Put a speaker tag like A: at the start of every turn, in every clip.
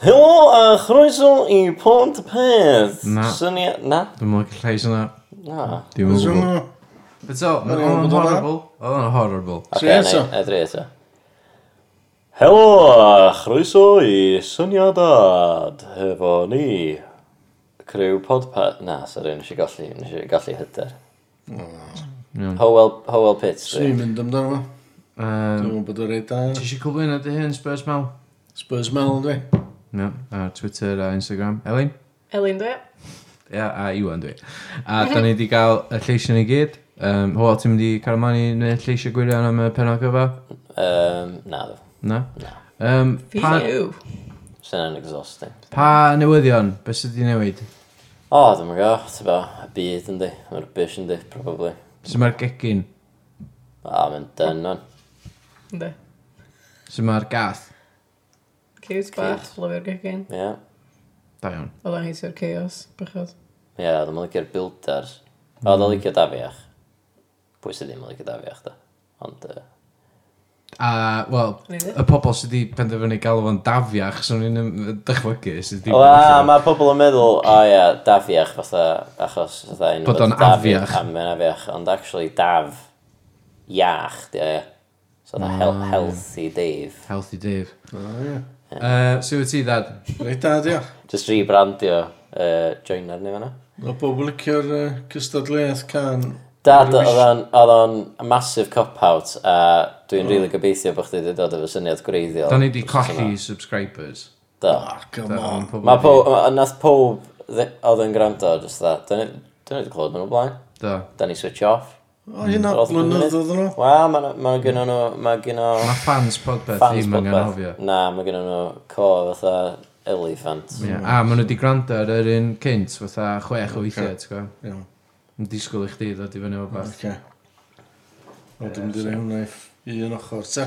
A: Helo a chroeso i Pont Peth.
B: Na.
A: Syniad... Na?
B: Dwi'n mwyn gallu llais yna.
A: Na.
C: Dwi'n
B: Dwi'n mwyn
C: hwnna.
B: But so,
C: O'n
B: oedd
C: i'n
B: o'n
C: gwbod hwnna.
B: horrible. Oedd o'n horrible.
A: Oce,
C: Tri eto.
A: neu- Edri eto. Helo a chroeso i syniadad hefo ni. Crew podpad... Na, sori, nes i golli, nes i golli hyder.
B: Iawn.
A: Howell, Howell Pitts.
C: Swn i'n mynd amdano fo. Dwi'n
B: Yym,
C: meddwl bod o'n reit da.
B: Ti eisiau cwbl yna dy hyn, Spurs Mel?
C: Spurs Mel, dwi.
B: Iawn, ar Twitter a Instagram. Elin?
D: Elin dwi.
B: Ia, a Iwan dwi. A da ni wedi gael y lleisio ni gyd. Um, Hwyl, ti'n mynd i cael ymlaen i wneud lleisio gwirion am y penod gyfa?
A: Um, na, ddo.
B: Na? Um, pa,
D: Fiw.
A: sy'n yn exhausting.
B: pa newyddion? Be sydd wedi newid?
A: O, ddim yn gael, ti'n bo, y byd yndi, mae'r bish yndi, probably.
B: Sut mae'r gegin?
A: A, mae'n dyn o'n.
D: Ynddi.
B: Sut mae'r gath?
D: Cute bach, lyfio'r gegin.
A: Ie. Yeah.
B: Da iawn.
D: Oedd o'n heitio'r chaos, bychod.
A: Ie, yeah, ddim yn licio'r builders. O,
B: Mm.
A: ddim yn licio dafiach. Pwy sydd ddim yn licio dafiach, da. Ond, uh,
B: A, wel, y pobl sydd wedi penderfynu galw fo'n dafiach, so ni'n yym, dychmygu sydd wedi...
A: Wel, mae pobl yn meddwl, o ia, dafiach fatha, achos fatha un...
B: Bod o'n afiach.
A: A mae'n afiach, ond actually daf, iach, di o ia. So the hel
B: Ah.
A: healthy Dave.
B: Healthy Dave.
C: O, ie.
B: Uh, so wyt ti, dad?
C: Reit da, diolch.
A: Just rebrandio uh, joiner ni fanna.
C: O bobl licio'r yy, cystadleuaeth can.
A: Dad, oedd o'n- oedd o'n massive cop-out, a dwi'n rili gobeithio bod chdi wedi dod efo syniad gwreiddiol.
B: Da ni wedi colli subscribers.
A: Do.
C: Ah, come on.
A: Mae pob, ma- nath pob ddi- oedd yn gwrando, just that. Dwi'n wedi clywed nhw'n blaen.
B: Da.
A: Da ni switch off.
C: O, hynna
A: Roedd nhw'n
C: blynedd
A: mynd.
C: oedd nhw.
A: Wel, mae gen nhw, mae gen nhw...
B: Mae fans podbeth
A: fans
B: ddim yn
A: popeth.
B: anghofio.
A: Na, mae gen nhw co fatha elephant.
B: Ie, A maen nhw wedi gwrando ar yr un cynt, fatha
A: Mm,
B: chwech o weithiau, ti'n gwybod?
C: Iawn,
B: Yn disgwyl i chdi ddod i fyny o beth.
C: oce. O, dwi'n mynd i rei hwnna i f- i un ochr, te.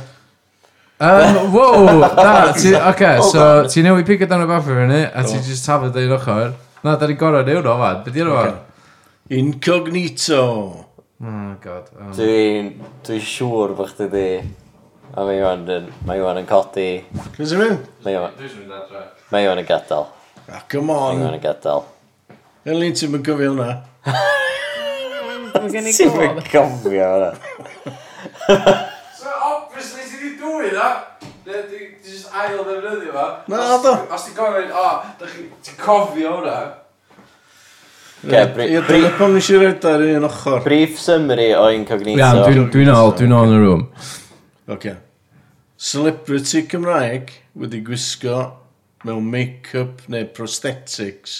B: Um, wow! Da, ti, oce, so ti newid pig dan o beth fyny, a ti
C: Do.
B: jyst tafod ei ochr. Na, da ni gorau newn o fan. Be di'n o fan?
C: Incognito.
B: Oh, god. o.
A: Dwi'n dwi siŵr bod chdi di... A mae Iwan yn, mae Iwan yn codi.
C: Cys i mynd?
A: Mae Iwan, mae Iwan yn gadael.
C: Ah, come
A: Mae
C: on.
A: Iwan yn gadael.
C: Elin, ti'n mynd gofio hwnna?
D: Mae gen i
A: Ti'n mynd
D: gof.
A: gofio hwnna.
E: So, obviously, ti di dwy na? Neu ti ti jyst ail ddefnyddio fo?
C: Na,
E: Os-
C: do.
E: Os ti'n gofyn, o, da chi, ti'n cofio hwnna?
A: Ie, bri-
C: Ie,
A: bri-
C: dyna pam nes i roed ar un ochr.
A: Brief summary o
B: Iawn,
A: Incognito.
B: dwi'n dwi'n ôl, dwi'n ôl yn y room.
C: Oce. Celebrity Cymraeg wedi gwisgo mewn make-up neu prosthetics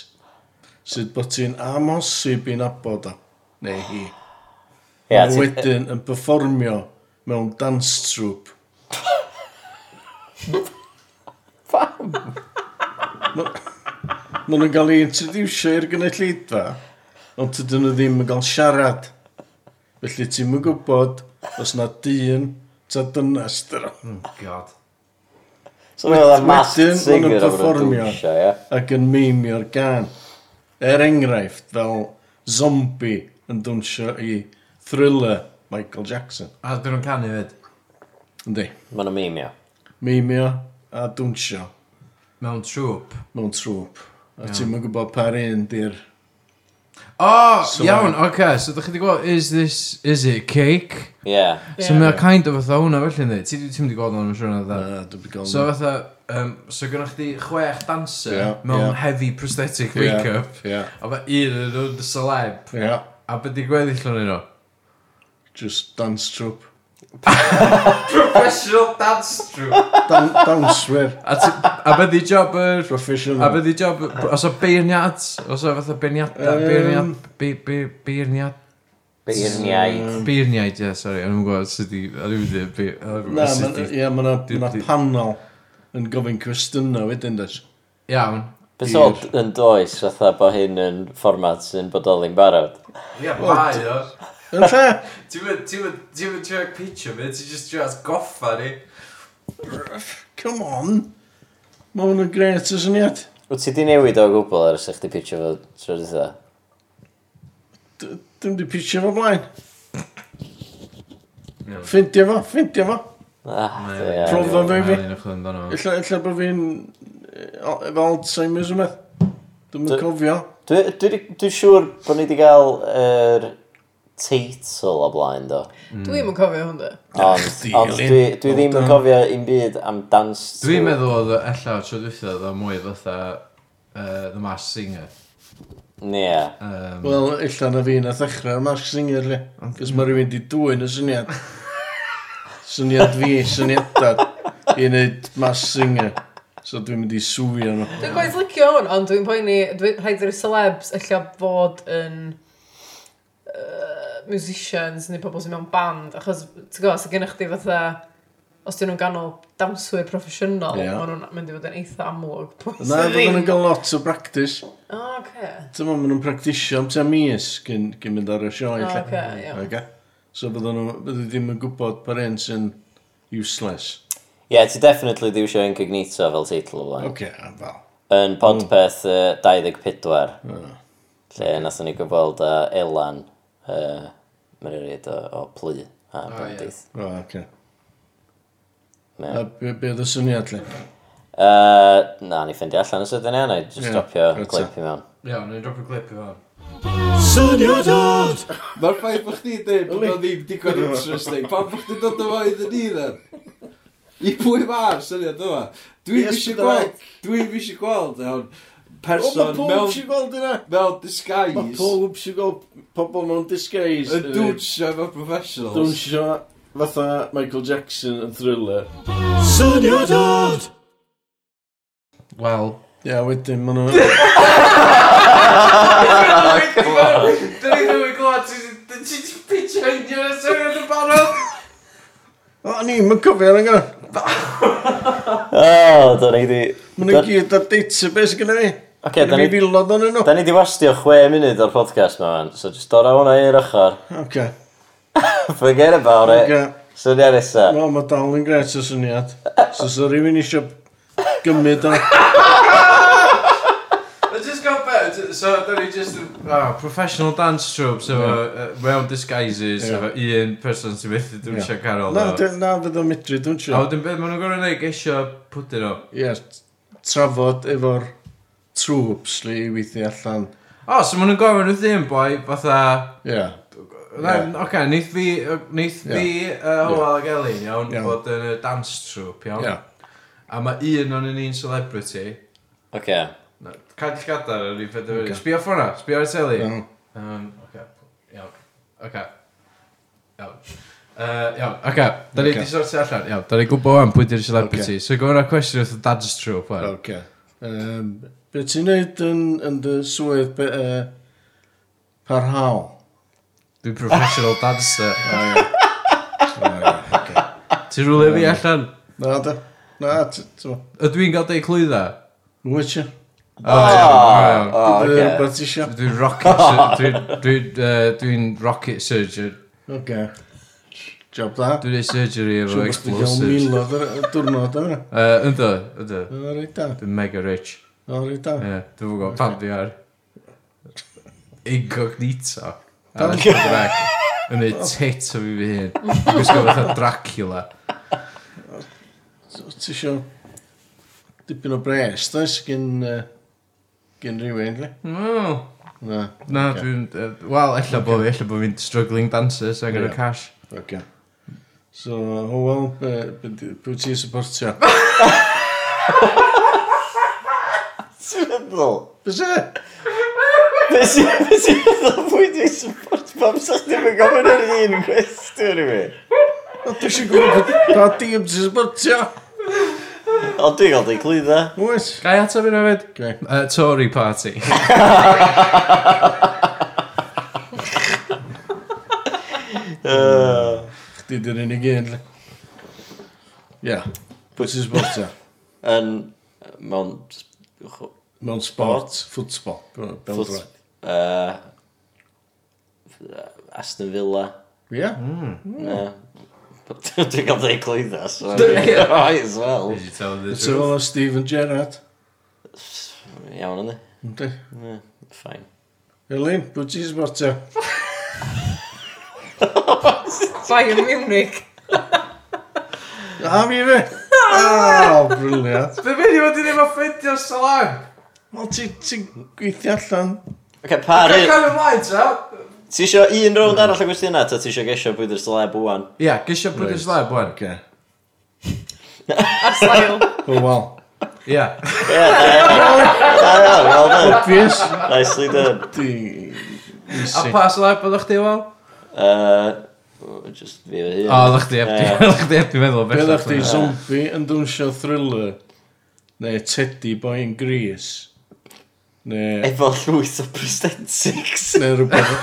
C: sydd bod ti'n amhosib i nabod o, neu hi.
A: Ie,
C: A
A: ti-
C: wedyn yn performio mewn dance troupe. Pam? Mae nhw'n cael ei introducio i'r gynulleidfa, ond tydyn nhw ddim yn cael siarad. Felly ti'n mynd gwybod os na dyn ta dynas dyn nhw.
B: God.
A: So mae o'n
C: wedyn,
A: masked
C: ma' nhw'n
A: singer o'r
C: perfformio.
A: dwysio, ie.
C: Ac yn meimio'r gan. Er enghraifft fel zombie yn dwnsio i thriller Michael Jackson.
B: A dyn nhw'n canu fyd.
C: Yndi.
A: Mae nhw'n meimio.
C: Meimio a dwnsio
B: Mewn trwp.
C: mewn trwp. A ti'n mynd gwybod par un di'r...
B: O, oh, iawn, oce, okay, so ydych chi wedi gweld, is this, is it cake?
A: Ie.
B: So mae o kind of fatha hwnna felly ynddi, ti ti'n wedi gweld hwnna'n siwr na dda.
C: Na, dwi'n gael...
B: Ah. So fatha, um, so gynnwch chi chwech dancer
C: Ie,
B: mewn
C: ie.
B: heavy prosthetic make-up,
C: Ie.
B: a mae un yn nhw'n celeb,
C: Ie.
B: a beth di gweddill hwnnw nhw?
C: Just dance troupe.
E: Professional dance troupe.
C: Dan, dancewyr.
B: A, ti- a beth di job yr... A
C: Professional.
B: beth di job, os o beirniad, os o fatha beirniada,
C: Yym.
B: beirniad, be- be- beirniad,
A: Beirniaid.
B: beirniad, ie, sori, o'n i'n gwybod sut i, o'n i'n mynd i,
C: Na,
B: sut
C: ma-
B: i,
C: ie, mae
B: Di-
C: yna
B: di-
C: panel yn gofyn cwestiynau wedyn, dweud.
B: iawn.
A: Beth o yn does fatha bod hyn yn fformat sy'n bodoli'n barod?
E: Ie, mae o.
C: Yn lle?
E: Ti'n mynd, ti'n mynd, ti'n mynd trio'r picture fi, ti'n jyst trio'r goffa ni.
C: Come on! Mae hwn yn gret o syniad.
A: Wyt ti di newid o gwbl ers eich di pitio fo tro dda?
C: D- Dwi'm di pitio fo blaen. Ffindio fo, ffindio fo.
A: Ah,
B: Mae-
A: ie. Ah,
C: Prof- Wel, fe- fe-
B: Mae'n edrych yn ddono.
C: Ella, ella bod fi'n o- efo Alzheimer's yma. Dwi'n
A: Dy-
C: cofio.
A: Dwi, dwi, di- dwi'n siŵr bod ni wedi cael yr teitl o blaen, do.
C: Hmm.
D: Dwi'n yn cofio hwn, da.
A: Ond,
C: chdi,
A: ond
C: Elin.
A: dwi, dwi ddim
C: Well
A: yn
C: done.
A: cofio un byd am dans.
B: Dwi'n meddwl oedd ella tro dwythio oedd o mwy fatha uh, The Masked Singer.
A: Ie.
C: Ah.
B: Um,
C: Wel, illa na fi na ddechrau y Mask Singer, le. Cos mae rhywun di dwy'n y syniad. syniad fi, syniadad. I wneud Mask Singer. So dwi'n mynd i swio nhw.
D: Dwi'n gwaith licio hwn, ond dwi'n poeni, dwi, rhaid i'r celebs illa fod yn uh, musicians neu pobl sy'n mewn band, achos, ti'n gwybod, sy'n gennych chi fatha, os dyn nhw'n ganol danswyr proffesiynol,
C: Ie.
D: yeah. maen nhw'n mynd i fod yn eitha amlwg. pwy sydd
C: Na, fydden nhw'n
D: ddim.
C: cael lot o practice.
D: O, oce.
C: Dyma maen nhw'n practisio am tua mis gyn, gyn mynd ar y sioe.
D: O,
C: lle.
D: oce, iawn.
C: Oce. So bydden nhw, bydden ddim yn gwybod par un sy'n useless.
A: Ie, ti definitely di wisio incognito fel teitl o blaen.
C: Oce, a fel.
A: Yn podpeth uh, 24, lle nathon ni gyfweld a Elan, uh, myriad o, o plu a bandith.
C: O, oce.
A: Ie.
C: A be be oedd y syniad lle?
A: Uh, na, ni ffendi allan os ydyn ni anna, just
C: Ie,
A: dropio
C: reit
A: clip i mewn.
B: Iawn, ni'n drop y clip i fan.
E: Mae'r ffaith bod chdi'n dweud bod o ddim digon interesting. Pan bod chdi'n dod yma iddyn ni dden? I pwy mae'r syniad yma? Dwi'n
C: Yes,
E: eisiau
C: but
E: gweld, dwi'n eisiau gweld, iawn,
C: O, mae
E: person
C: pob
E: mewn,
C: sy'n gweld yna!
E: mewn
C: Mae
E: disguise
C: pob sy'n gweld pobl mewn disguise.
E: yn dwnsio efo professionals.
C: Dwnsio fatha Michael Jackson yn thriller.
B: Wel,
C: Ia, wedyn, maen nhw...
E: Dyn ni ddim yn gwybod, ti'n ti'n pitio unio yn y syniad yn barod?
C: O, ni, mae'n cofio yna gyda.
A: O, da ni di...
C: Maen nhw gyd ar database gyda fi.
A: Oce, da
C: Gyda fi
A: ni...
C: filod o'n nhw.
A: Da ni di wastio 6 munud o'r podcast ma, man. So, just dod â hwnna i'r ochr.
C: Oce.
A: Forget about it.
C: Oce.
A: Syniad nesa.
C: Wel, mae dal yn gret o syniad. So, so rhywun eisiau gymryd o.
E: I just got better, so dyn ni just yn...
B: Ah, professional dance troops efo yeah. mewn uh, disguises
C: Ie.
B: yeah. efo un person sy'n methu dwi'n
C: Ie.
B: yeah. siarad carol
C: Na,
B: o.
C: dy- na fydd o'n medru, dwi'n
B: A
C: siw.
B: wedyn beth maen nhw'n gorau neud eisiau pwdyn o.
C: Ie, trafod efo'r trwps li i weithio allan.
B: O, so maen nhw'n gofyn wrth un boi, fatha...
C: Ie.
B: Yeah. Oce, neith fi, neith
C: Ie.
B: yeah. fi, uh, Hywel ag Elin, iawn,
C: Iawn.
B: yeah. bod yn y dance troupe, iawn.
C: Ie.
B: A mae un o'n un celebrity.
A: Oce.
B: Na, Cad i lladar ar un ffedau
C: Oce.
B: fyny. Sbio ffona, sbio ar y teli.
C: Iawn.
B: Um, Oce, iawn. Oce. Iawn. Uh, iawn, oce, da ni
C: Oce.
B: di sortio allan, iawn, da ni gwybod o'n pwy di'r celebrity, so gofyn o'r cwestiwn wrth y dad's troupe, wan.
C: Oce. Yym, Be ti'n neud yn, yn dy swydd be, yy, parhaol?
B: Dwi'n professional dancer.
C: O, ie. O, ie, oce.
B: Ti'n rwle fi allan?
C: Na, da. Na, ti'n...
B: Ydw i'n gael deu clwydda?
C: Wyt ti?
B: O, iawn,
C: Yy,
A: O, oce.
C: Beth ti isio?
B: iawn. Dwi'n rocket sur- dwi'n- dwi'n, yy, Dwi'n rocket surgeon.
C: Oce. Job da.
B: Dwi'n ei surgery efo
C: Siw bod chdi gael
B: explosives.
C: milodd yr y diwrnod yna.
B: Yy, Ynddo, ynddo.
C: O, reit da.
B: Dwi'n mega rich.
C: O, reit da.
B: Ie, Dwi'n fwy gwybod pan dwi ar incognito. Ar y Cymraeg. Yn ei tit o fi fy hun. Dwi'n gwisgo fatha Dracula.
C: Ti isio dipyn o bres, does, gen, uh, gen rhywun, le?
B: Mm.
C: Na.
B: Na,
C: Oce.
B: dwi'n... yy, Wel, ella bod fi, ella bod fi'n struggling dancer, so I'm gonna
C: Ie.
B: cash.
C: Oce. So, Howell, be- be di- pwy ti'n supportio?
A: Syndol.
C: Be se?
A: Be sy'n meddwl pwy dwi'n support pam sa chdi'n mynd gofyn yr un gwestiwn i mi?
C: O, dwi eisiau gwybod pa- pa dîm ti'n supportio?
A: O, dwi'n e. gael ei glwydda.
C: Wyt?
B: Gai ato fi'n hefyd?
C: Oce.
B: Uh, Tory party.
C: Chdi di'r unig un, le. Ia. Pwy ti'n supportio?
A: Yn... Mewn... s- chw-
C: Mewn sport, football.
A: ffwt- Yy... Aston Villa.
C: Ia?
B: Mm.
A: Na. Dwi'n gael ei glwydda, so... Might as well.
B: Did you tell the
C: It's all Stephen Gerrard.
A: Iawn yna.
C: Ynddi.
A: Fine.
C: Elin, pwy ti'n supportio?
D: Bayern Munich.
C: A mi fe!
D: O,
C: O, briliant.
B: Be fe ni wedi ddim o ffeithio'r salag?
C: Wel, ti- ti'n gweithio allan.
A: Oce, pa
B: Cael
A: rei...
B: cael ymlaen, ta?
A: Ti isio un round arall o gwestiynau, ta ti isio gesio bwyd yr slab wwan?
B: Ia, gysio brwyd y slab, bwan.
C: Oce.
D: Ar sail.
C: O, wel.
B: Ia.
A: Da iawn, well done.
C: Obvious.
A: Nicely done.
C: Di...
B: A
C: Easy.
B: pa slab oedd chdi, wel?
A: Uh, just fi fy hun.
B: O, oedd chdi, oedd chdi, dwi'n meddwl.
C: Be
B: bellach.
C: ddech chi zombi yn dwnsio thriller? Neu teddy boy yn gris? Neu...
A: Efo llwyth o prosthetics.
C: Neu rhywbeth...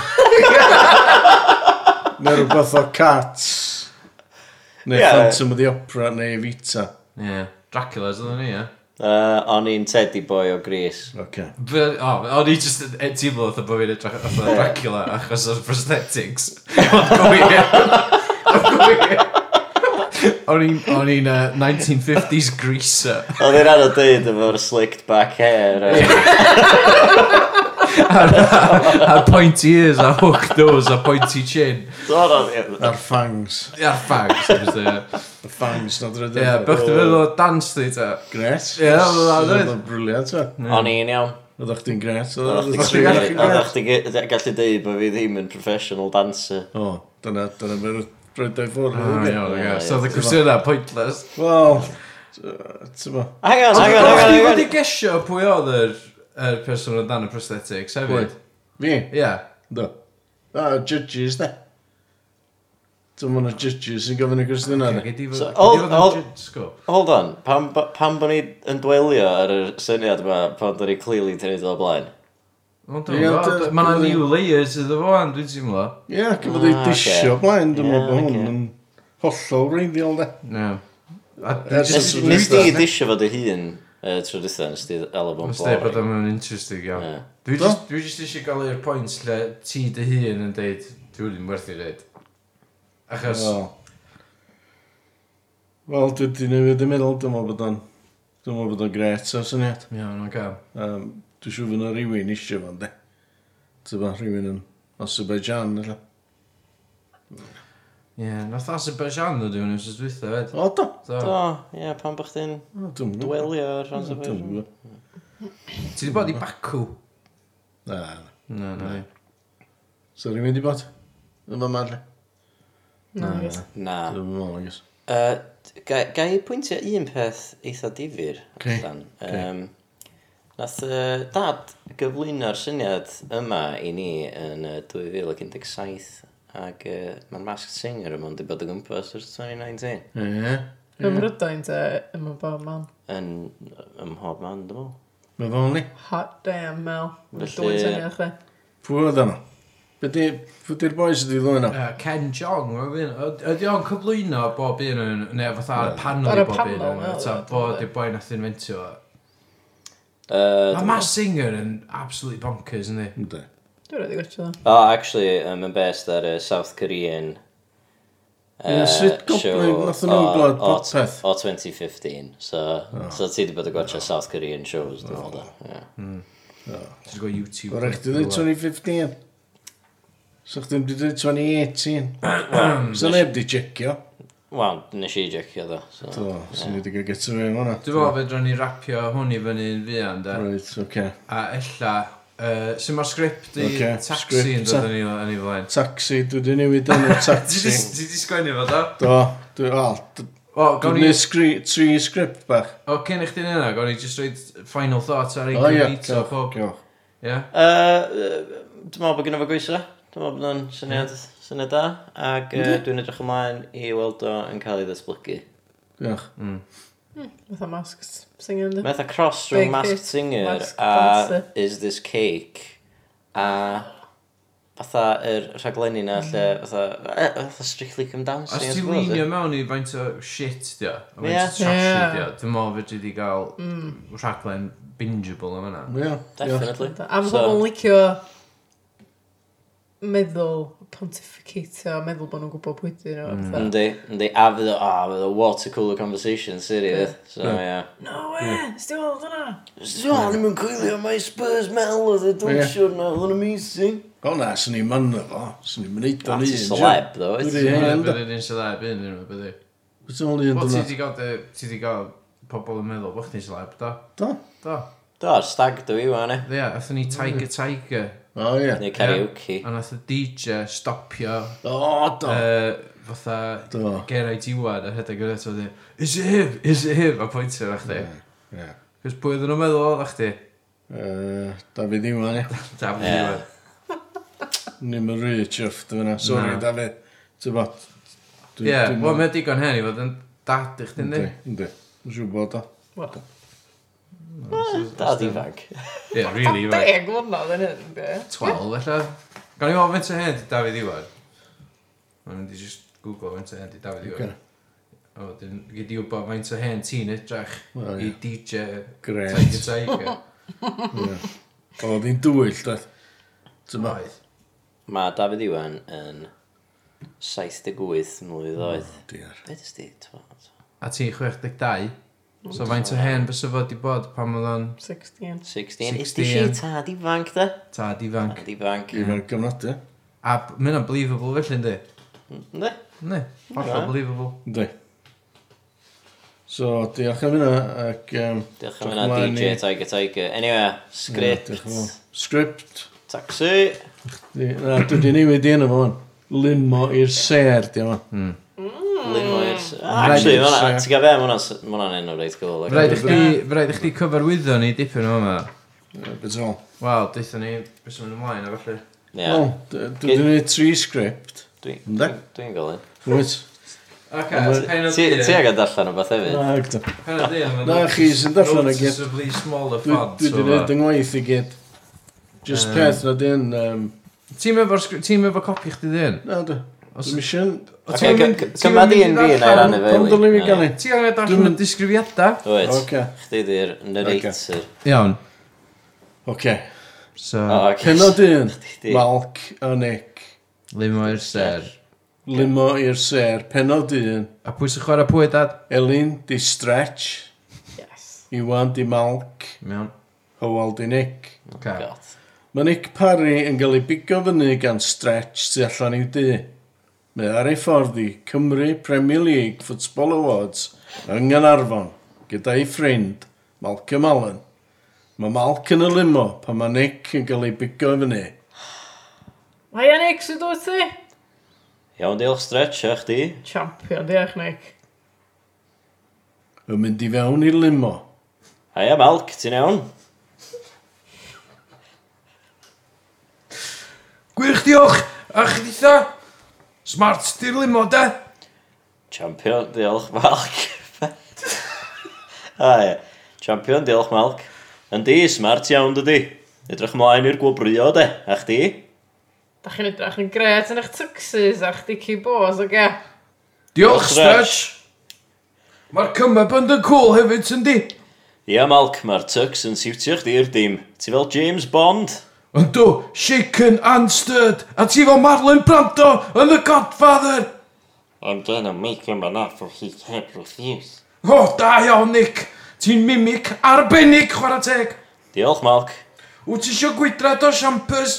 C: Neu rhywbeth o cats? Neu
A: Ie.
C: Phantom of the Opera neu Evita?
B: Ie. Dracula's oedd ni, ie.
A: Uh, o'n i'n teddy boy o Gris.
C: Oce.
B: Fe- O, o'n i just yn yn teimlo oedd bod fi'n edrych oedd Dracula achos o'r prosthetics. Oedd gwir. Oedd gwir. O'n i'n o'n i'n, uh, 1950s greaser.
A: Oedd i'n rhan o dweud efo'r slicked back hair. eh.
B: A pointy ears, a hook nose, a pointy chin.
A: So o'n i'n...
C: A'r fangs.
B: Ia, ffags. Ie,
C: Y fangs nad rydyn.
B: bych ti'n meddwl o dance di ta.
C: Gret.
B: Ie, wel,
C: Oedd
B: oedd.
C: o'n briliant, o.
A: O'n i'n iawn.
C: Oeddech chdi'n gret.
A: Oeddech
C: Oeddech
A: chdi
C: chdi'n
A: gallu- Oeddech
C: gret.
A: chdi ge- gallu deud bod fi ddim yn professional dancer.
C: O, dyna, dyna mewn rhaid o'i ffwrdd.
B: O,
C: ynde?
B: Ah, iawn, ie. So oedd y cwestiynau pointless.
C: Wel, ti'n ma.
A: Hang on, hang on, hang
B: Oedd chdi
A: on, hang
B: wedi
A: on.
B: gesio pwy oedd yr yr person o dan y prosthetics hefyd?
C: Fi?
B: Ie.
C: Do. A, judges, de. Ti'n ma'n judges sy'n gofyn y gwestiynau, de.
A: So,
B: Gedi
A: hold-
B: fod yn
A: hold-
B: jitsgo.
A: Hold on, pam, bo- pam bod ni yn dwelio ar yr syniad yma pan dyn ni clearly ti'n neud o blaen?
B: Ond
C: Ie, ond,
B: Mae
C: yy,
B: yna
C: dwi'n-
B: new layers iddo fo an, dwi'n teimlo.
C: Ie, cyfodd ei
A: Ah,
C: disio
A: ocê.
C: blaen, dwi'n
A: Ie,
C: meddwl bod
A: ocê.
C: hwn yn hollol reiddiol, de.
B: No. A
C: Ers
B: dwi'n
C: y
B: just...
C: tro
A: Nes
C: dwytha.
A: di disio fod y hun uh, tro dwytha, nes di elabon
B: Mae'n dweud bod
A: blori.
B: o'n interesting iawn.
A: Ie.
B: Dwi
C: Do.
B: just dwi just eisiau gael i'r pwynt lle ti dy hun yn deud, dwi wedi'n werth i ddeud. Achos,
C: Wel, Wel, dwi wedi newid y meddwl, dwi'n meddwl bod o'n... Dwi'n meddwl bod o'n gret, o syniad.
B: iawn, o'n gael.
C: Um, dwi'n siŵr fyna rhywun isio fan, de. Ti'n ma, rhywun yn Azerbaijan, illa.
B: Ie, nath Azerbaijan ddod dwi'n ymwneud dwytho fed.
C: O, do.
B: So,
A: Do, ie, pan bych chi'n
C: O, Dwi'n meddwl.
A: dwelio ar rhan
C: Dwi'n
A: sy'n
C: meddwl.
B: ti wedi bod i Baku?
C: Na, na.
B: No, no.
C: So, rwy'n mynd i bod? Yn fy marle?
D: Na, yes.
A: Na.
C: Dwi'n meddwl, I guess.
A: Uh, ga ga i pwyntio un peth eitha difyr.
C: Oce,
A: allan? Yym, nath uh, dad gyflwyno'r syniad yma i ni yn uh, 2017 ac uh, mae'n Masked Singer yma wedi bod o gwmpas ers 2019
C: Ie.
D: Ym Mrydain te, ym y bob man.
A: yn ym mhob man, dwi'n meddwl.
C: Mae fo'n ni.
D: Hot damn, Mel. Mae'n
A: Felly-
D: dwy'n syniad chdi.
C: Pwy oedd yna? Be di... Pwy di'r boys ydi ddwy yna?
B: Uh, Ken Jong, mae'n fi'n... Ydy o'n cyflwyno bob un yn... Neu fatha ar y panel
D: Ar
B: i
D: y
B: bob un
D: panel,
B: yn...
D: wel,
B: Ta,
D: ie,
B: bod
D: dwi'n
B: y boi nath inventio fo.
A: Uh,
B: Mae Mass Singer yn absolutely bonkers, yndi?
C: Ynddi.
D: Dwi'n rhaid i gwtio dda.
A: O, oh, actually, um, yn based ar uh, South Korean
C: Ie, sut goblin nathon nhw glywed
A: o,
C: popeth?
A: o 2015, so, so ti wedi bod yn gwachio South Korean shows, dwi'n meddwl. ie.
B: Ti'n go YouTube.
C: O'r eich di dweud 2015? So chdi'n di dweud 2018? So neb di checio?
A: Wel, nes i jecio ddo. So.
C: Do, so ni di gael get away am hwnna.
B: Dwi'n meddwl fe dron ni rapio hwn i fyny yn fuan, da.
C: Right, oce.
B: A ella, uh, sy'n ma'r sgript i
C: Ocê,
B: taxi
C: sgript,
B: yn
C: ta.
B: dod yn ei- yn ei flaen.
C: Taxi, dwi di newid yn o
B: Ti
C: taxi.
B: 'di- ti di sgwennu fo, da?
C: Do, dwi... O, d-
B: O, gawn
C: dwi
B: ni...
C: di sgri... Tri sgript bach.
B: O, cyn i chdi'n yna, gawn ni just roed final thoughts ar ei
C: O ie,
B: gymryd o pob.
C: gael.
B: Ie?
A: Uh, dwi'n meddwl bod gynnaf y gwysa. Dwi'n meddwl bod nhw'n syniad, syniad da. Ac uh, dwi'n edrych ymlaen i weld o yn cael ei ddatblygu.
C: Diolch.
D: Fatha masks. Singing ynddi.
A: Mae'n cross rhwng
D: Big
A: Masked
D: Fish,
A: Singer
D: Masked
A: a
D: Dancer.
A: Is This Cake a fatha yr rhaglenni na lle fatha, e, fatha Strictly Come Dancing
B: Os
A: I
B: ti'n
A: suppose,
B: linio
A: ie.
B: mewn i faint o shit, dio. A
A: Ie.
B: faint o trashy,
D: Ie.
B: dio. Dwi'n meddwl fe dwi wedi cael rhaglen bingeable am yna.
C: Ie, diolch.
A: Definitely
D: A mae pobl yn licio meddwl, pontificatio, meddwl bod nhw'n gwybod pwy dyn nhw. fatha,
A: Yndi, yndi, a fydd o, a fydd o water cooler conversation, serious So, ie
D: No way, sti'n gweld yna?
A: So, o'n i'n gwylio mae Spurs Mel oedd y dwysio na, oedd yn amazing
C: O na, swn i'n mynd o fo. Swn i'n mynd o'n un.
A: Ti celeb, ddo,
C: Dwi
A: wyt?
C: di,
B: Ie,
C: ie,
B: Bydd
C: ynddo.
B: yr un sydd ar byd yn yna, byddi.
C: Beth yw'n lian
B: Wel, ti
C: dyna?
B: wedi gael, dy- ti wedi gael pobl yn meddwl bod chdi'n slab, do?
C: Do?
B: Do.
A: Do, stag dwi wan e.
B: Ie, yeah, athyn ni Tiger Tiger,
C: O, ie.
A: Neu karaoke.
B: a nath y DJ stopio,
C: O, do.
B: uh, fatha,
C: Do.
B: Geraint Iwan, a rhedeg yn eto, is it him, is it him, a pwyntio ar chdi.
C: Ie.
B: Cos pwy oedden nhw'n meddwl oedd chdi?
C: Yy, Dafydd Iwan, ie.
B: Dafydd
A: Ie.
B: Iwan.
C: Ni'n mynd rhi chyfft fyna. Sorry,
B: Na.
C: Dafydd. Ti'n bod?
B: Ie, wel, mae'n digon hen i fod yn dad i chdi,
C: Yndi,
B: yndi?
C: yndi. Yn siŵr bod o.
D: Wel,
A: Da di fag.
B: Ie, really, Iwan.
D: deg mlynedd yn hyn, be?
B: 12, felly. Gan i fod fynt o hen i Dafydd Iwan. Mae'n mynd i just google fynt o hen i Dafydd Iwan.
C: Ocê.
B: A wedyn, gyd i wybod faint o hen ti'n edrych
C: Wel,
B: i
C: ie.
B: DJ
C: Grêt.
B: Tiger Tiger.
C: Ie. O, oedd hi'n dwyll, doedd. Ti'n bod?
B: Oedd.
A: Mae Dafydd Iwan yn 78 mlynedd
C: Hmm.
A: oed.
C: Diar.
A: Be dys di? twat?
B: A ti 62. So faint o hen fysa fod i bod pan oedd o'n
D: 16.
A: 16. Is di
B: 16.
A: si tad ifanc da?
B: tad ifanc.
A: Tad ifanc.
C: Ifanc gyfnod, ie.
B: A mynd o'n believable felly, ynddi?
A: Ne?
B: Ne, hollol
A: Na.
B: believable.
C: Yndi. So, diolch am hynna, ac... yym,
A: Diolch am yna
C: ymlaen
A: DJ
C: i-
A: Tiger Tiger. Anyway,
C: Ie, diolch
A: script.
C: yn fawr. Sgript.
A: Taxi.
C: Di- Na, dwi di newid i yna fo hwn. Limo i'r ser, di yma.
A: Lyn Moyers. Ah, Actually,
C: Rhaid
A: ma' hwnna-
C: i'r-
A: ti'n gael be? Ma' hwnna'n- ma' hwnna'n enw reit cool. like.
B: Fyraid i chdi, fyraid i chdi cyfarwyddo ni dipyn o yma. Hmm.
C: Beth o'n?
B: Wel, deitha ni, bys yn mynd ymlaen a felly.
A: Ie,
C: Wel, d- dwi di newid tri sgript.
A: dwi-
C: Ynde?
A: dwi'n golyn.
C: Wyt?
B: Ok,
C: Wel,
B: pen o
A: Ti
B: dyn.
A: ti ag yn darllen o beth hefyd?
C: Na, gyda.
B: Pen o dyn.
C: Na, chi sy'n darllen y gyd.
B: Noticeably smaller
C: Dwi
B: font.
C: dwi di newid yng ngwaith i gyd. Just
B: Yym.
C: peth na dyn... yym,
B: Ti'n efo'r sgri- ti'm efo copi chdi dyn?
C: Na, dwi.
B: Os-
C: Dwi'n misio...
A: Ocê, gy- gy- Cymad un fi yn ei rannu fe.
C: Pam dylwn i gael ni?
B: Ti angen
C: Dwi'm
B: darllen y
C: yn-
B: disgrifiadau?
A: Wyt,
C: Oce.
A: chdi di'r narrator.
B: Iawn.
C: Oce.
B: So,
A: O, ocê.
C: Penod un.
A: di.
C: Malc a Nick.
B: limo i'r ser.
C: Limo i'r ser. Penod un.
B: A pwy sy'n chwarae pwy, dad?
C: Elin di Stretch.
D: Yes.
C: Iwan di Malc.
B: Iawn.
C: Howell di Nick.
B: Okay.
A: God.
C: Mae Nick Parry yn cael ei bigo fyny gan Stretch tu allan i'w dŷ. Mae ar ei ffordd i Cymru Premier League Football Awards yng Nghanarfon gyda ei ffrind Malcolm Allen. Mae Malc yn y limo pan mae Nick yn cael ei bigo i fyny.
D: Mae yn eich sydd wyt ti?
A: Iawn, diolch stretch, a chdi?
D: Champion, diolch Nick.
C: Yn mynd i fewn i'r limo.
A: A ia, Malc, ti'n iawn?
B: Gwych diolch! A chyditha! Smart di'r limo, de!
A: Champion, diolch, Malc. A ia, champion, diolch, Malc. Yndi, smart iawn dydi. Edrych ymlaen i'r gwobrio, de. A chdi?
D: Da chi'n edrych yn gret yn eich tuxes a chdi cibos, oge?
B: Diolch,
A: Diolch,
B: Stretch! Mae'r cymab yn dyn cool hefyd, sy'n di?
A: Ia, Malc, mae'r tux yn siwtio chdi'r dim. Ti fel James Bond?
B: Ond dw, shaken and stirred, a ti fo Marlon Brando yn The Godfather!
A: I'm gonna make him an offer he can't refuse.
B: O, oh, da iawn, Nick! Ti'n mimic arbennig, chwarae teg!
A: Diolch, Malc.
B: Wyt ti isio gwydrad o siampers?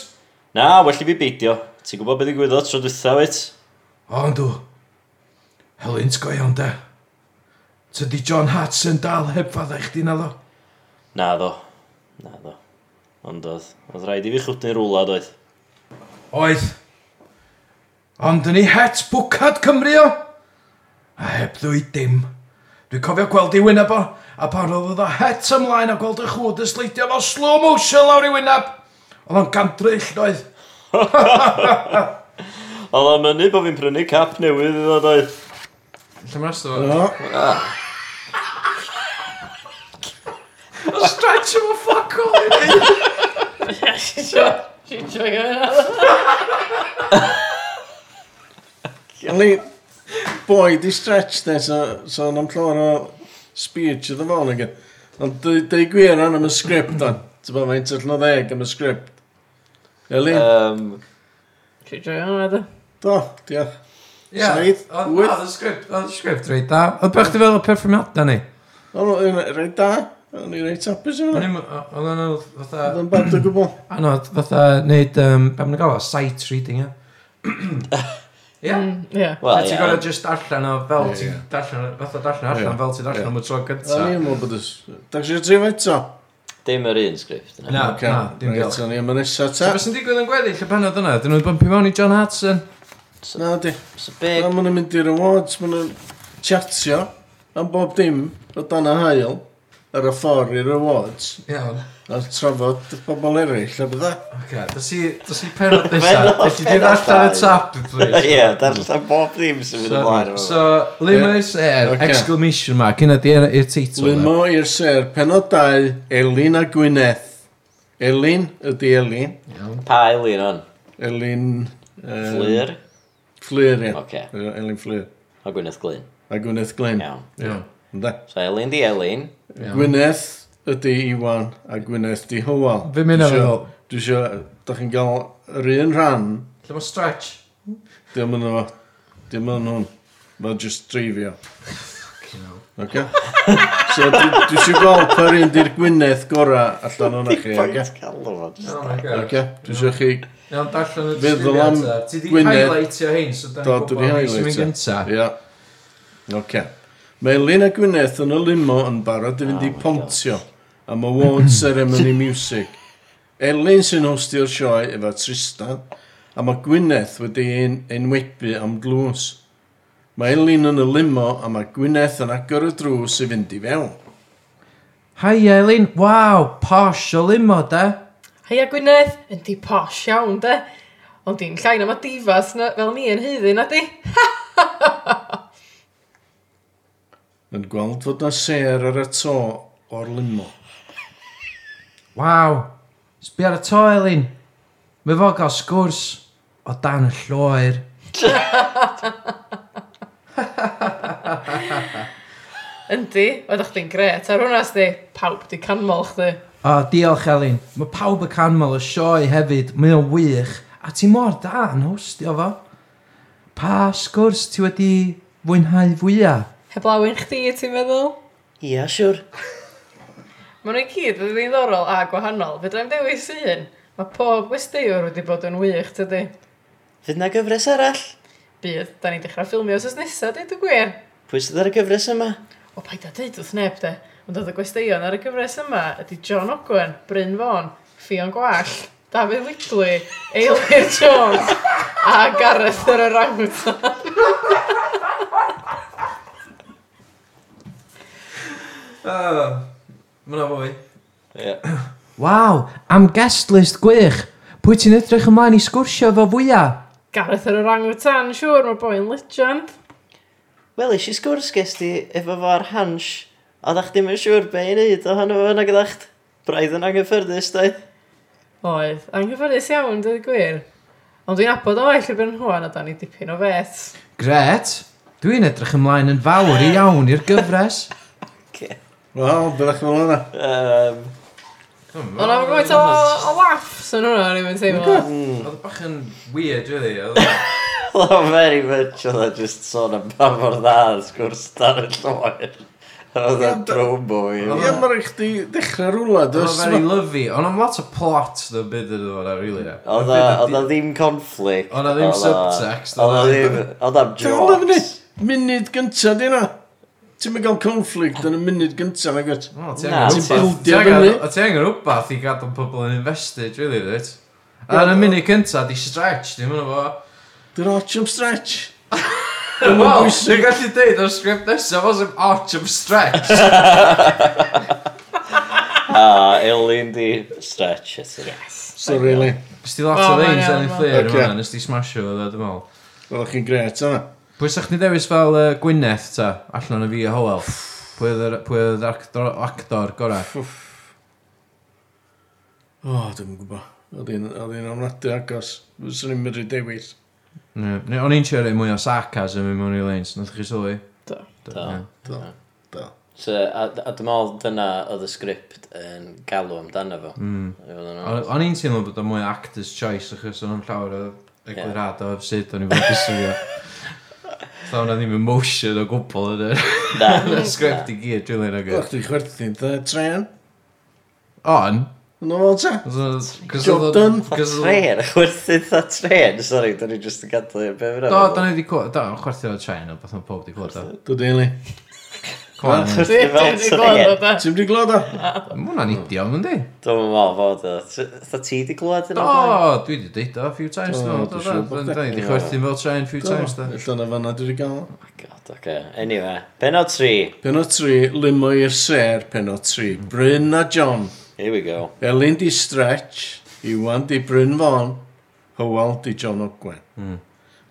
A: Na, well i fi beidio. Ti'n gwybod beth i gwydo tro dwytha, wyt?
B: O, yndw. Helen's go iawn, de. Tydi John Hats yn dal heb faddau chdi na ddo.
A: Na, ddo. Na, ddo. Ond oedd. Oedd rhaid i fi chwtnu'n rwla, doedd.
B: Oedd. Ond yn ei het bwcad Cymru o. A heb ddwy dim. Dwi'n cofio gweld ei wyneb o, a pan oedd oedd o het ymlaen a gweld y chwd yn sleidio fo slow motion lawr ei wyneb. Oedd o'n gandryll, doedd.
A: Oedd o'n mynnu bod fi'n prynu cap newydd iddo, doedd.
B: Lle mae'n rhaid
C: O,
B: O, stretch yma ffoc o hynny.
D: Si'n siarad gyda
C: Oli, boi di Stretch de, so, so nam llawer o speech ydw fo'n ag. e. Ond dwi- dwi gwir an am y sgript o'n. Ti'n bod mae'n tyllo ddeg am y sgript. Elin,
A: Um,
D: Si'n siarad gyda da.
C: do, diolch. Saith, wyth.
B: Oedd y sgript, oedd y sgript reit da. Oedd bych ti fel y perfformiadau ni?
C: O'n i'n reit da. O'n i'n reit hapus o'n
B: O'n
C: hynna.
B: i'm- Oedd o'n fatha...
C: Oedd yn bad o gwbl.
B: Anodd, fatha, neud, um, be mae'n gael o, sight reading, ie? Ie.
D: Ie.
B: A
A: Wel,
B: ti'n
A: ie.
B: gorau just darllen o fel
C: Ie,
B: ti'n
C: ie.
B: darllen, fath o darllen allan
C: Ie.
B: fel ti'n darllen
C: Ie.
B: am y tro
C: O'n
B: gyntaf.
C: i'n meddwl bod ys... Da chi'n trif eto?
A: Dim yr un sgrift.
B: Na,
C: Oce,
B: na, dim
C: reit,
B: diolch.
C: o'n i'n mynd nesa
B: So
C: ta.
B: beth sy'n digwydd yn gweddill y penod yna? Dyn nhw'n bumpio mewn i John Hudson?
C: Na, di.
A: So
C: Na,
A: big...
C: maen nhw'n mynd i'r awards, maen nhw'n chatio am bob dim o dan y hael ar y ffordd i'r awards
B: Iawn.
C: a trafod y pobl eraill a bydda.
B: Oce, dos i, dos i penod nesa.
A: Pennod-
B: Felly dwi'n
A: pennod
B: allan y
A: dau.
B: top, please.
A: Ie, darllen bob ddim sy'n mynd ymlaen.
B: So,
A: efo
B: so limo i'r ser,
C: Ocê.
B: exclamation mark, yna di i'r teitl. yna.
C: Limo i'r ser, penod 2, Elin a Gwyneth. Elin ydi Elin.
A: fo. Pa Elin on?
C: Elin... yym,
A: Fflir?
C: Fflyr, ie.
A: Oce.
C: Elin Fflyr.
A: O Gwyneth Glyn.
C: A Gwyneth
B: Mm.
C: Glyn.
A: Iawn.
B: Iawn.
C: Ynde?
A: So Elin di Elin.
B: Iawn.
C: Gwyneth ydy Iwan a Gwyneth di Hywel.
B: Fi'n mynd
C: Dwi
B: ar
C: isio-
B: ôl.
C: Dwi isio, da chi'n gael yr un rhan,
B: Lle mae stretch?
C: dim yn o, dim yn hwn. Mae just dreifio. Oce? So dwi dwi isio gweld per un di'r Gwyneth gorau allan o'n chi, oce?
A: Calw fo. jyst-
B: Oh my god.
C: Oce? Dwi isio chi,
B: Iawn, darllen y
C: Feddwl am
B: disgrifiad ta. Ti di
C: Gwynedd.
B: highlightio hyn, so da
C: do,
B: ni'n
C: dwi di
B: gwybod beth sy'n
C: highlight.
B: mynd gyntaf.
C: Ia. Oce. Mae Elin a Gwyneth yn y limo yn barod i fynd i
A: Oh my
C: pontio am award ceremony music. Elin sy'n hostio'r sioe efo Tristan, a mae Gwyneth wedi ein enwebu am glws. Mae Elin yn y limo a mae Gwyneth yn agor y drws i fynd i fewn.
B: Hi Elin, waw, posh o limo da.
D: Heia Gwynedd, yn di posh iawn, de? Ond di'n llai na ma difas na, fel ni yn hyddi, na di?
C: Yn gweld fod na ser ar y to o'r limo.
B: Waw, sbi ar y to Elin. Mae fo gael sgwrs o dan y lloer.
D: Yndi, oedd chdi'n gret ar hwnna, sti. Pawb di canmol chdi.
B: O, diolch Elin. Mae pawb y canmol y sioe hefyd, mae o'n wych. A ti mor da yn hostio fo. Pa sgwrs ti wedi fwynhau fwyaf?
D: Heblawen chdi, ti'n meddwl?
A: Ie, siwr.
D: Mae nhw'n cyd yn ddiddorol a gwahanol. Fedrai'm dewis un. Mae pob westeiwr wedi bod yn wych, tydi.
A: Fydd na gyfres arall? Bydd.
D: Bydd, da ni'n dechrau ffilmio os nesaf, dweud y gwir.
A: Pwy sydd ar y gyfres yma?
D: O, paid a deud wrth neb, de. Ond oedd y gwesteion ar y gyfres yma ydy John Ogwen, Bryn Fôn, Ffion Gwall, Dafydd Lidley, Eilir Jones a Gareth yr Orangutan.
B: Mae yna fwy.
A: Ie.
B: Waw, am guest list gwych. Pwy ti'n edrych ymlaen i sgwrsio fo fwyaf?
D: Gareth yr Orangutan, siŵr, mae'r boi'n legend.
A: Wel, eisiau sgwrs ges ti efo fo ar hans, a ddach ddim yn siŵr be i wneud ohono fo nag ydach braidd yn anghyffyrddus, dau.
D: Oedd, anghyfforddus iawn, dweud y gwir. Ond dwi'n abod o eill i'r Bryn Hwan a da ni dipyn o fet.
B: Gret, dwi'n edrych ymlaen yn fawr i iawn i'r gyfres.
C: Wel, bydda'ch fel yna.
A: Um,
D: Ond am gwaith o, o laughs yn hwnna, ni'n mynd teimlo.
B: Oedd bach yn weird, really.
A: well, very much oedd e just sôn am pa mor dda oedd sgwrs dan y lloer. Oedd e e'n drobo i.
B: Wel,
C: Ie, mae rhaid chdi dechrau rwla,
B: Oedd
C: dys?
B: very lovely. Ond am lot o plot yn byd yn dod ar, really.
A: Oedd e oedd e ddim conflict.
B: Oedd e ddim
A: Oedd e-
B: subtext,
A: Oedd e
B: oedd e-
A: ddim...
C: Dal
A: Oedd e'n
C: efo ni!
A: jokes.
C: Munud gyntaf di yna! Ti'n mynd gael conflict yn y munud gyntaf na gyd.
B: O, ti
A: Na,
B: angen
A: ti'n
B: rwbath- ti
C: buildio
B: angen-
C: fyny.
B: o, ti angen rhywbeth i gadw pobl yn invested, really, dweud. A yn y munud cynta, di stretch, dim ond fo.
C: Dy'r arch am stretch.
B: Wel,
C: bwysig.
B: dwi'n gallu deud o'r sgript nesaf, os yw'n arch of stretch.
A: A Elin di stretch. Yes.
C: Sorry, Lee.
B: Nes ti lot o
D: O, mae'n
B: ddeins yn
D: iawn,
B: ei
D: mae'n-
B: fflir
C: Ocê.
B: yma, nes ti smasho fo, dwi'n meddwl.
C: Wel, chi'n gret yna.
B: Pwy sa'ch ni dewis fel uh, Gwyneth ta, allan o fi a Howell? Pwy oedd yr- pwy oedd yr actor, actor gorau?
C: O, oh, dwi'n gwybod. Oedd hi'n amnadu agos. Fyswn i'n mynd i dewis.
B: Ne, ne, o'n i'n siarad mwy o sarcasm i mewn i leins, nath chi sylwi?
D: Do.
B: Do.
A: Do.
B: ie.
C: Do. Do.
A: So, a, a dwi'n meddwl dyna oedd y sgript yn galw amdano fo.
B: Hmm.
A: Mm.
B: O- O'n i'n teimlo bod o'n mwy actor's choice achos o'n am llawer o eglurad o sut o'n i'n fod i swnio. Tha o'na ddim emotion o gwbl yn yr-
A: Na,
B: yn y sgript i gyd, dwi'n e. leir
C: Wel,
B: agor.
C: chdi chwerthu'n dda tren.
B: On,
C: Yn o'n te? Job done.
B: Cos oedd...
A: Tren, chwerthu ta tren, sori, da ni jyst yn gadw i'r beth
B: Do, da ni wedi clywed, do, chwerthu o'r train, o beth mae pob wedi clywed o.
C: Dw dili.
B: Come on,
A: Chwerthu
D: Dwi'n
A: fel
D: dwi'n gweld o
A: tren.
D: da.
C: Ti'n di glod o?
B: ma' hwnna'n
C: Hmm.
B: idiom, yndi?
A: Dwi'n meddwl fod o. Da ti di glwad yn
B: Do,
A: o'r
B: dwi wedi deud o a few times,
C: Do,
B: do, do,
C: Oh, dwi'n
B: do,
C: siŵr
B: do,
C: bod
B: da ni wedi
A: chdi.
B: chwerthu fel train few
C: Do.
B: times, do.
C: Ella na fanna dwi wedi gael. o.
A: God, oce. Anyway, penod 3.
C: Penod 3, limo i'r ser, penod 3. Bryn a John.
A: Here we go.
C: Elin di Stretch, Iwan di Bryn Fawn, Hywel di John Ogwen. Mm.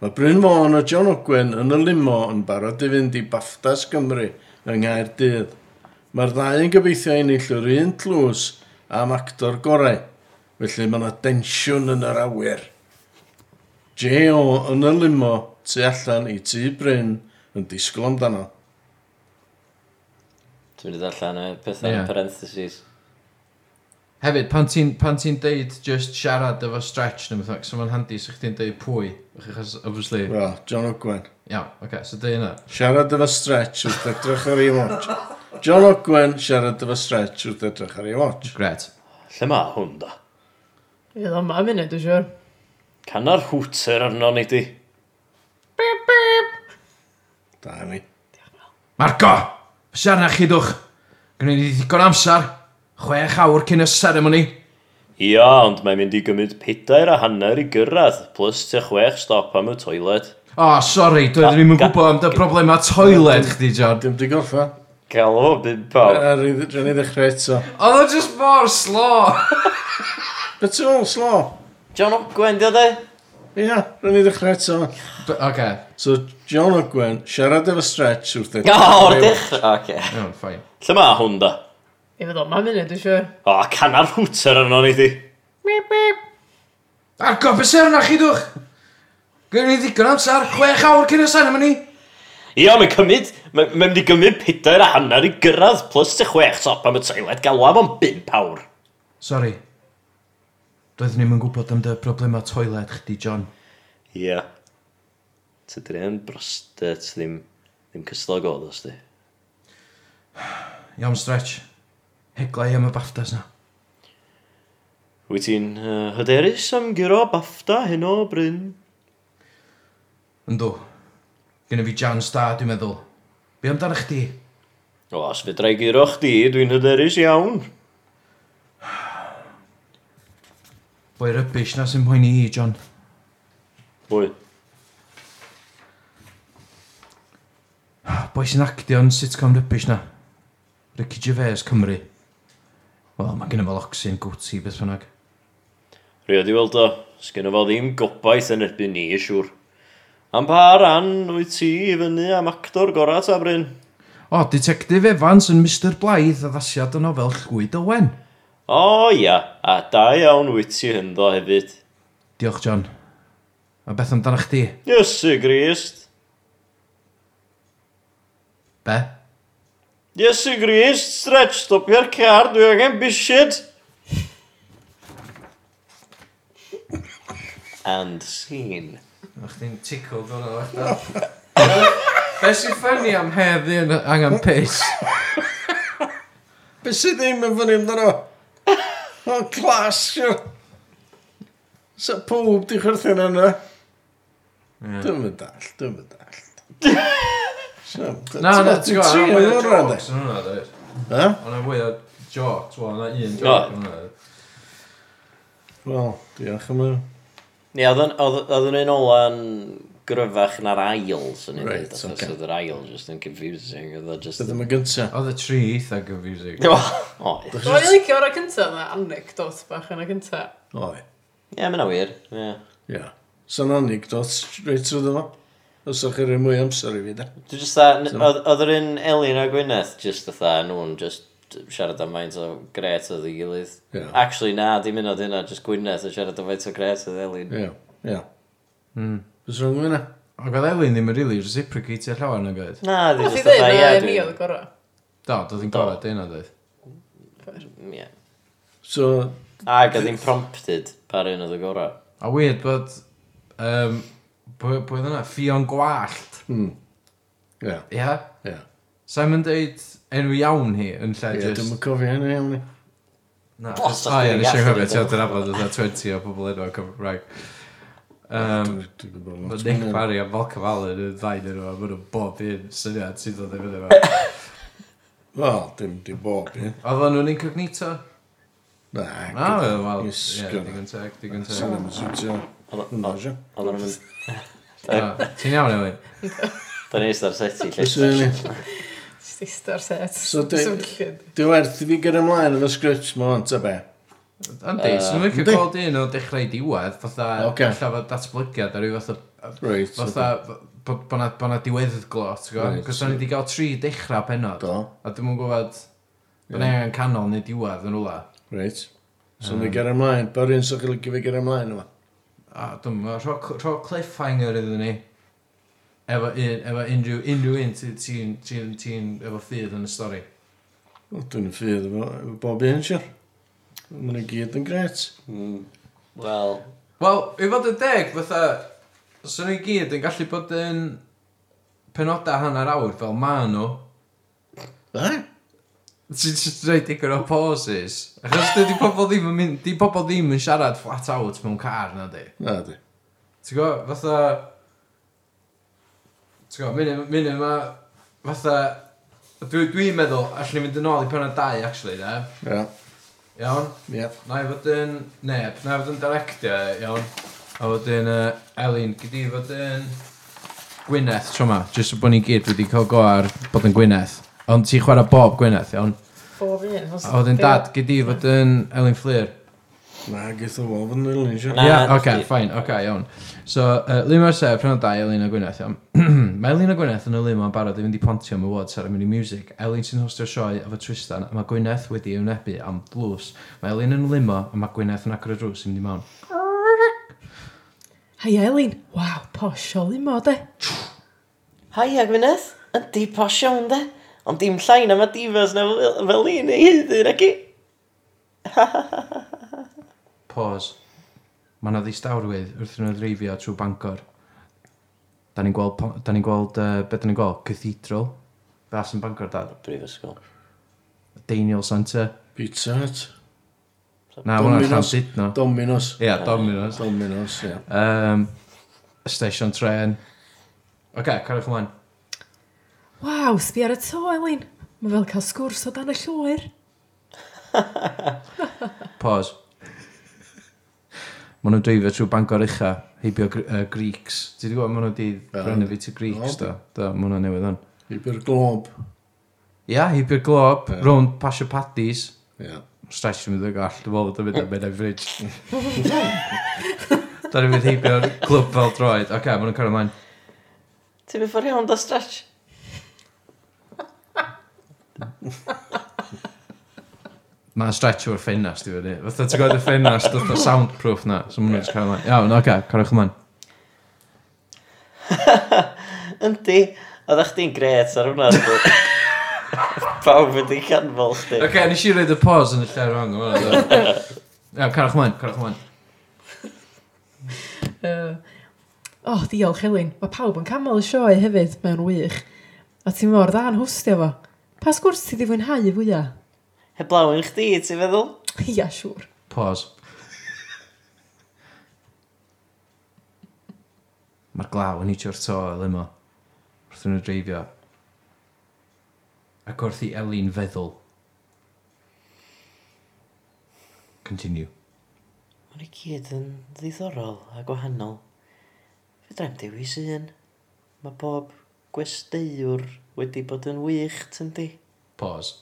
C: Mae Bryn Fawn a John Ogwen yn y limo yn barod i fynd i Baftas Cymru yng Nghaerdydd. Mae'r ddau yn gobeithio ennill yr un tlws am actor gorau, felly mae yna densiwn yn yr awyr. J.O. yn y limo tu allan i tŷ Bryn yn disgwyl amdano.
A: Dwi'n mynd i allan y pethau
B: Ie.
A: yn parentheses.
B: Hefyd, pan ti'n pan ti'n deud just siarad efo stretch neu beth bynnag, so mae'n handi sa chdi'n deud pwy, achos obviously,
C: Wel, John Ogwen.
B: iawn, oce, so deud yna.
C: Siarad efo stretch wrth edrych ar ei watch. John Ogwen, siarad efo stretch wrth edrych ar ei watch.
B: Gret.
A: Lle mae hwn da?
D: Fydd yma munud, dwi'n siŵr.
A: Cana'r hwter arno ni di.
D: Bip, bip.
C: Da ni.
B: Marco! Siarad na chi dwch! Gwneud ni ddigon amser, chwech awr cyn y seremoni.
A: Ia, ond mae'n mynd i gymryd pedair a hanner i gyrraedd, plus te chwech stop am y toilet.
B: O, oh, sori, doeddwn ni'n mynd
A: Ga-
B: gwybod am dy broblema toiled chdi, John.
C: Dim di gorffa.
A: Gael o byd pawb.
C: Ar i ddyn ni ddechrau eto.
B: Oedd o just mor slo!
C: Beth ti'n ôl, slo?
A: John Ogwen, di o de?
C: Ia, rhan ni ddechrau eto.
B: B- Oce,
C: So, John Ogwen, siarad efo stretch wrth edrych
A: O,
C: ar ei
A: o'r
C: watch.
A: dechrau. Oce.
B: iawn, ffain.
A: Lle mae hwn da?
D: Fydd yma munud, dwi'n siŵr.
A: O, cana'r hwter arno ni di.
D: Bip, bip.
B: Marco, be siarad na chi dwch! Gwneud ni ddigon amser, chwech awr cyn y seremoni.
A: Ia, mae'n cymryd, mae'n mae mynd i gymryd pedair a hanner i gyrraedd, plus te chwech top am y toilet, gael wab am bimp awr.
B: Sorry. Doeddwn ni'n gwybod am dy broblema toiled chdi, John.
A: Ia. Tydyn ni'n brostet, ddim, ddim cyslog oedd os di.
B: Iawn, stretch. Heglau am y baftas na.
A: Wyt ti'n uh, hyderus am gyro bafta hyn o bryn?
B: Yndw. Gynna fi jans da, dwi'n meddwl. Be amdano chdi?
A: O, os fedrai gyro chdi, dwi'n hyderus iawn.
B: Boi rybish na sy'n poeni i, John.
A: Mwy.
B: Boi sy'n actio'n sitcom rybish na. Ricky Gervais, Cymru. Wel, mae gynna fo locsyn, gwti, beth bynnag.
A: Rio di weld o, sgynno fo ddim gobaith yn erbyn ni, yn siŵr. Am pa ran wyt ti i fyny am actor gorau ta bryn?
B: O, Detective Evans yn Mr Blythe addasiad y nofel Llwyd Owen.
A: O ia, a da iawn wyt ti hynddo hefyd.
B: Diolch, John. A beth amdano chdi?
A: Iesu Grist!
B: Be?
A: Iesu Grist! Stretch, stopio'r car, dwi angen bishyd! And scene.
B: O'ch chdi'n ticl dwi'n o'r Be sy'n ffynnu am heddi yn angen pis?
C: Be sydd ddim yn fan amdano? O, clas, sio. Sa pob di chwerthin yna. Dwi'n mynd all, dwi'n mynd all.
B: Na, na, ti'n gwybod, yna mwy o
C: gwybod.
B: jokes yn hwnna, dweud.
C: Ha?
B: Yna mwy o jokes, wel, yna un
A: Do.
B: joke yn hwnna.
C: Wel, diolch am y...
A: Ie, yeah, oedd yn un ola'n gryfach na'r ail, sy'n ni'n
C: Reit,
A: dweud. Right,
C: ocê.
A: Oedd yr ail just yn confusing. Oedd o just...
C: Beth yma gyntaf.
B: Oedd y tri eitha confusing.
A: O, o, ie,
D: Dwi'n licio o'r cynta yna, anecdot bach yn y cynta.
C: Oi.
A: yeah, mae'n wir. Yeah.
C: Ia. Sa'n anecdots reit trwy ddefo. Os o'ch chi'n rhoi mwy amser i fi, da.
A: Dwi just tha, n- oedd oedd yr un Elin a Gwyneth, just fatha, nhw'n just siarad am faint o gret oedd ei gilydd.
C: Ie.
A: Actually, na, dim un oedd hynna, just Gwyneth yn siarad am faint o gret oedd Elin.
C: Ia. Ia.
B: Hmm.
C: Bys rhwng yna?
B: Ac oedd Elin ddim yn rili reciprocate'r llawer yn oed.
A: Na, di
D: Nath i
A: just
D: ddweud
A: fatha, ie,
D: na ni oedd y
A: dwi'n...
D: gorau.
B: Do, doedd hi'n gorau dyn oedd oedd.
A: Ie.
C: So,
A: Ac oedd hi'n prompted par un oedd y gorau.
B: A weird, bod... Um, Bwyd yna, ffion gwallt.
C: ia.
B: Ia?
C: Ia.
B: Simon deud enw iawn hi yn lle
C: Ia,
B: just...
C: Dwi'm yn cofio hynny iawn i.
B: Na,
A: Boss,
B: jyst-
A: os
B: o ie,
A: dwi'n
B: nes i
A: gallu
B: anghofio,
A: neud
B: ti
A: o.
B: oedd yn abod oedd 20 o bobl enw Cymraeg. Um,
C: Dwi- Dwi'n gwybod
B: Mae
C: lot.
B: Nick
C: mwy.
B: Barry a Malcolm Allen yn ddain yn yma, maen nhw bob un syniad sydd oedd yn fyny yma.
C: Wel, dim di bob, ie.
B: Oedd nhw'n incognito?
C: Na,
B: Na, wel, wel,
C: Yes,
B: ie,
C: gyda.
B: digon teg, digon
C: Sa'n
B: teg.
C: ddim yn siwtio.
A: Oedd-
C: Ynddo, sio.
A: Oedd nhw'n mynd...
B: O, Ti'n iawn, Elin?
A: Da ni eistedd ar seti, lle.
C: Fysa ni.
D: Just eistedd set.
C: So di-
D: Swn llyd.
C: Di werth i fi gyda ymlaen efo sgript ma ond, ta be?
B: Yndi, so nhw'n licio
C: Yndi.
B: gweld un o dechrau diwedd, fatha,
C: Ocê.
B: fatha fod datblygiad ar yw fatha,
C: Reit. so
B: fatha, bo- bo' na- bo' na diwedd glot, ti'n gwybod?
C: Reit,
B: Cos o'n
C: so-
B: i wedi cael tri dechrau penod,
C: Do,
B: a dim yn gwybod, bod ni angen canol neu diwedd yn rwla.
C: reit. So ni gyda ymlaen. Ba'r un sy'n chylgu fi gyda ymlaen yma.
B: A dwi'n meddwl, rho, rho cliffhanger iddyn ni. Efo, un, efo unrhyw, unrhyw un ti- ti'n, ti'n, ti'n, efo ffydd yn y stori.
C: O, Dwi'n ffydd efo efo bob un, sio. Mae nhw gyd yn gret.
A: Mm. Wel,
B: Wel, i fod yn deg, fatha, os o'n i gyd yn gallu bod yn penodau hanner awr fel ma nhw,
C: E?
B: ti'n just rhaid digon o pauses. Achos dydi pobl ddim yn mynd, di pobl ddim yn siarad flat out mewn car na di.
C: Na, di.
B: Ti'n gwybod, fatha... Ti'n gwybod, mynd yma... Fatha... Dwi'n dwi dwi'n meddwl, allwn ni mynd yn ôl i penod 2, actually, da.
C: Ia,
B: Iawn?
C: ia.
B: Na i fod yn... Neb, na i fod yn directio, iawn. A fod yn... Uh, Elin, gyda i fod yn... Gwyneth, tro ma. Jyst o bod ni gyd wedi cael go ar bod yn Gwyneth. Ond ti'n chwarae bob Gwyneth, iawn?
D: Bob un. os-
B: A fod yn dad, gyda i fod yn Elin Fflir.
C: Na, gyda o wal fy'n ilyn, sio.
A: Na,
B: Ie, yeah,
A: na,
B: oce,
A: di-
B: fine, oce, iawn. So, uh, Lima Sef, prynod 2, Elin a Gwyneth, iawn. mae Elin a Gwyneth yn y Lima yn barod i fynd i pontio am y wod ar y mini music. Elin sy'n hostio sioe efo Tristan, a mae Gwyneth wedi ei wnebu am blws. Mae Elin yn y limo, a mae Gwyneth yn agor y drws i mynd i mewn.
D: Hei Elin. Waw, posh o limo de.
A: Hai ag fynydd, ydy posio hwn de, ond dim llain am y divas na fel- fel un ei hyddyn ac i.
B: Pause. Mae yna ddistawrwydd wrth yn ddreifio trwy Bangor. Da ni'n gweld, pon- da ni'n gweld, uh, beth da ni'n gweld? Cathedral. Fe as yn Bangor, dad.
A: Brifysgol.
B: Daniel Center.
C: Pizza Hut.
B: Na, hwnna'n
C: Domino's.
B: llawn no.
C: Domino's.
B: Ie, yeah, Domino's.
C: Domino's, ia.
B: um, station tren. Oce, okay, carwch ymlaen.
D: Waw, sbi ar y to Elin. Mae fel cael sgwrs o dan y llwyr.
B: Pause. Maen nhw'n dreifio trwy Bangor ucha, heibio gr uh, Greeks. Ti wedi gwybod, maen nhw wedi
C: Fel-
B: renovate Greeks,
C: O,
B: do. Do, maen nhw'n newydd hwn.
C: Iber glob.
B: Ia, yeah, heibio glob,
C: Ie.
B: yeah. rownd pasio paddies.
C: Ia.
B: Stretch yn mynd o gall, dwi'n meddwl bod yn mynd am mynd am fridge. Da ni'n mynd heibio'r glwb fel droed. Oce, okay, maen nhw'n cario ymlaen.
A: Ti'n mynd ffordd iawn da stretch?
B: Mae'n stretch o'r ffenast i fyny. Fytha ti'n gwybod y ffenast, fatha soundproof na. So maen nhw'n just cario ymlaen. Iawn, oce, okay, carwch ymlaen.
A: Yndi, oedd eich di'n gret ar hwnna. yndi? Pawb wedi canfol chdi.
B: Oce, okay, nes i roed y pause yn y lle rong o'n fawr. Ia, carach mlaen, carach mlaen.
D: Uh, o, oh, diolch Elin. Mae pawb yn camel y sioe hefyd, mae'n wych. A ti'n mor dda'n hwstio fo. Pa sgwrs ti di fwynhau fwyaf?
A: Heblaw yn chdi, ti'n feddwl?
D: Ia, siŵr.
B: Pause. Mae'r glaw yn eidio'r to y limo. Wrth yn y dreifio. Ac wrth i Elin feddwl. Continue.
A: Mae'n i gyd yn ddiddorol a gwahanol. Fe drem dewis un. Mae bob gwesteiwr wedi bod yn wych, ti'n di?
B: Pause.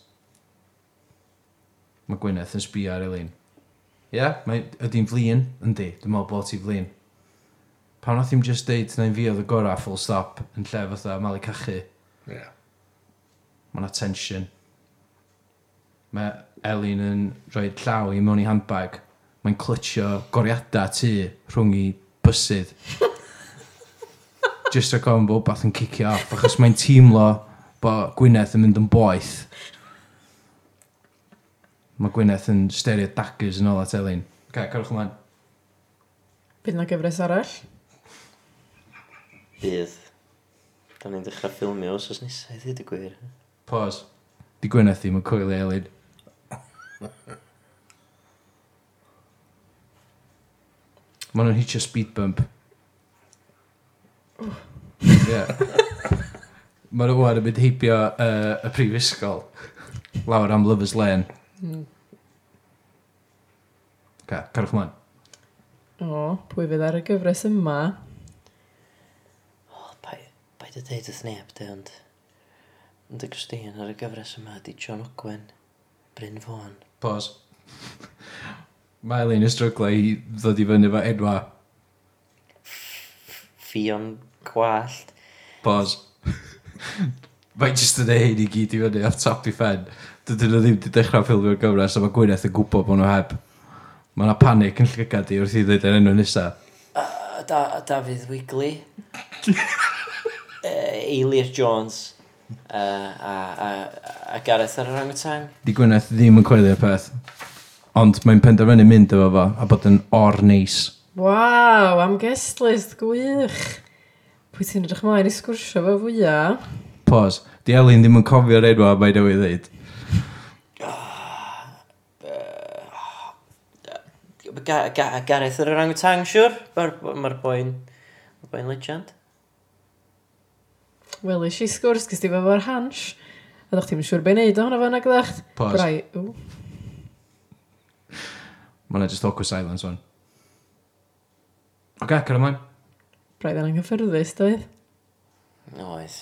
B: Mae Gwyneth yn sbio ar Elin. Ie, yeah, ydy'n flin, yndi, dwi'n meddwl bod ti flin. Pan nath i'm just deud na'n fi oedd y gorau full stop yn lle fatha malu cachu,
C: Ia.
B: mae na tension. Mae Elin yn rhoi llaw i mewn i handbag. Mae'n clytio goriadau tu rhwng i bysydd. Just a combo bath yn cicio off, achos mae'n teimlo bod Gwyneth yn mynd yn boeth. Mae Gwyneth yn sterio daggers yn ôl at Elin. Ca, okay, carwch ymlaen.
D: Bydd na gyfres arall?
A: Bydd. Da ni'n dechrau ffilmio os os nesau, ddweud y gwir.
B: Pause. Di Gwyneth ddim yn coelio Elin. Maen nhw'n hitio speed bump. Ie. Maen nhw wan yn mynd heibio uh, y prifysgol. Lawr am Lovers Lane. Ca, carwch mlaen.
D: O, pwy fydd ar y gyfres yma?
A: O, bai, bai dy deud y sneb, dy, ond... Ond y Christine ar y gyfres yma di John Ogwen, Bryn Fawn.
B: Pause. Mae Eileen yn stryglau i ddod i fyny efo enwa.
A: Fion Gwallt.
B: Pause. Mae jyst yn ei hyn i gyd i fyny off top i ffen. Dydyn nhw ddim wedi dechrau ffilmio'r gyfres a mae Gwyneth yn gwybod bod nhw heb. Mae yna panic yn llygad i wrth i ddweud yr enw nesaf.
A: A da, a Dafydd Wigley. uh, Elias Jones. Uh, a, a, a Gareth ar yr angwtang.
B: Di Gwyneth ddim yn coelio'r peth. Ond mae'n penderfynu mynd efo fo a bod yn or neis.
D: Waw, am guest list gwych. Pwy ti'n edrych mlaen i sgwrsio fo fwyaf?
B: Pause. Di Elin ddim yn cofio'r enw a mae newydd ddeud.
A: Ga, ga, Gareth ar yr angwtang, siwr? Mae'r ma boi'n... Mae'r boi'n legend.
D: Wel, eisiau sgwrs gys ti fo'r hans. A ddech ti'n siŵr be'n neud ohono fo nag ddech?
B: Pause.
D: Brai, w.
B: Mae yna just awkward silence fan. Oce, cer ymlaen.
D: Braidd yn anghyffyrddus, doedd?
A: Oes.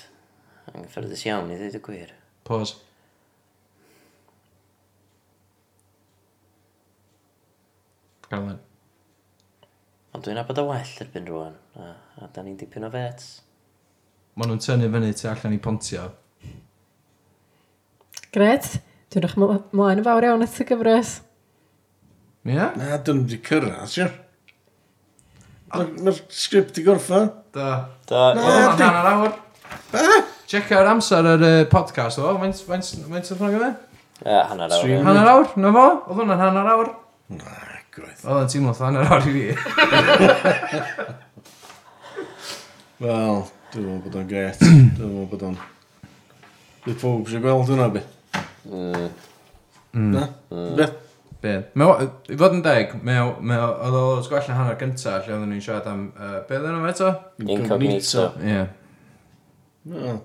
A: Anghyffyrddus iawn i ddweud y gwir.
B: Pause. Cer ymlaen.
A: Ond dwi'n abod o well erbyn rwan. A, a da ni'n dipyn o fets.
B: Mae nhw'n tynnu fyny tu allan i pontio.
D: Gret, dwi'n edrych mla- mlaen yn fawr iawn at y gyfres.
B: Ie? Yeah?
C: Na, dyn nhw wedi cyrraedd, siwr. Mae'r sgript i gorffa.
B: Da.
A: Da,
B: Wel, mae'n hanner awr. Checio'r amser ar y podcast o. Faint faint sy'n ffrog o fe?
A: Ie, Eh, hanner awr. ie.
B: Hanner awr, na fo? Oedd hwnna'n hanner awr?
C: Na, gwaith.
B: Oedd yn teimlo fatha hanner awr i fi.
C: Wel, dwi'n meddwl bod o'n gret. Dwi'n meddwl bod o'n... Dwi'n pob sy'n gweld hwnna, be. Na? Be?
B: Be? Mae o- I fod yn deg, mae o- mae o- oedd o lot gwell na hanner gynta lle oedden ni'n siarad am... Uh, be oedden nhw eto?
A: Incognito.
B: Ie. Yeah.
C: Wel,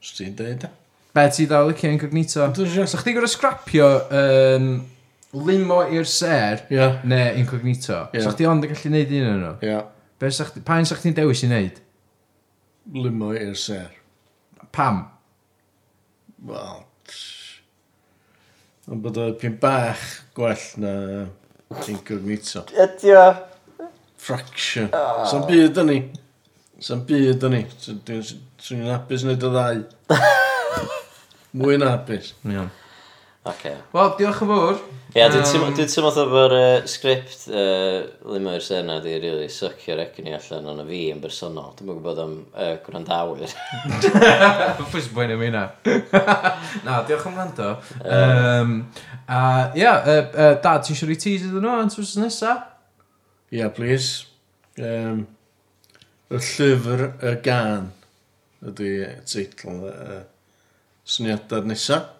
C: os ti'n deud e?
B: Be ti dda o licio incognito?
C: Dwi'n siarad.
B: So chdi gwrdd scrapio um, limo i'r ser
C: Ia.
B: neu incognito.
C: Ie.
B: Yeah. So chdi ond yn gallu neud un o'n nhw.
C: Ia.
B: Be sa chdi, pa'n sa chdi'n dewis i neud?
C: Limo i'r ser.
B: Pam?
C: Wel, tsh. Ond bod o pyn bach gwell na incognito.
A: Ydy o.
C: Fraction. Sa'n byd yn ni. Sa'n byd yn ni. So, dwi'n- Swn i'n hapus wneud y ddau. Mwy na hapus.
B: Iawn.
A: Oce.
B: Wel, diolch yn fawr.
A: Ie, dwi'n teimlo- dwi'n teimlo fatha bo'r yy, sgript uh, Limer Serna di rili sycio'r egni allan ond y fi yn bersonol. Dwi'n gwybod am uh, gwrandawyr.
B: Fwys bwyn am hynna. Na, diolch am wrando. Um, a, ia, yy, yy, dad, ti'n siwr i ti sydd yn nhw yn twrs nesa?
C: Ia, please. Um, y llyfr y gan ydy teitl y uh, syniadau nesaf.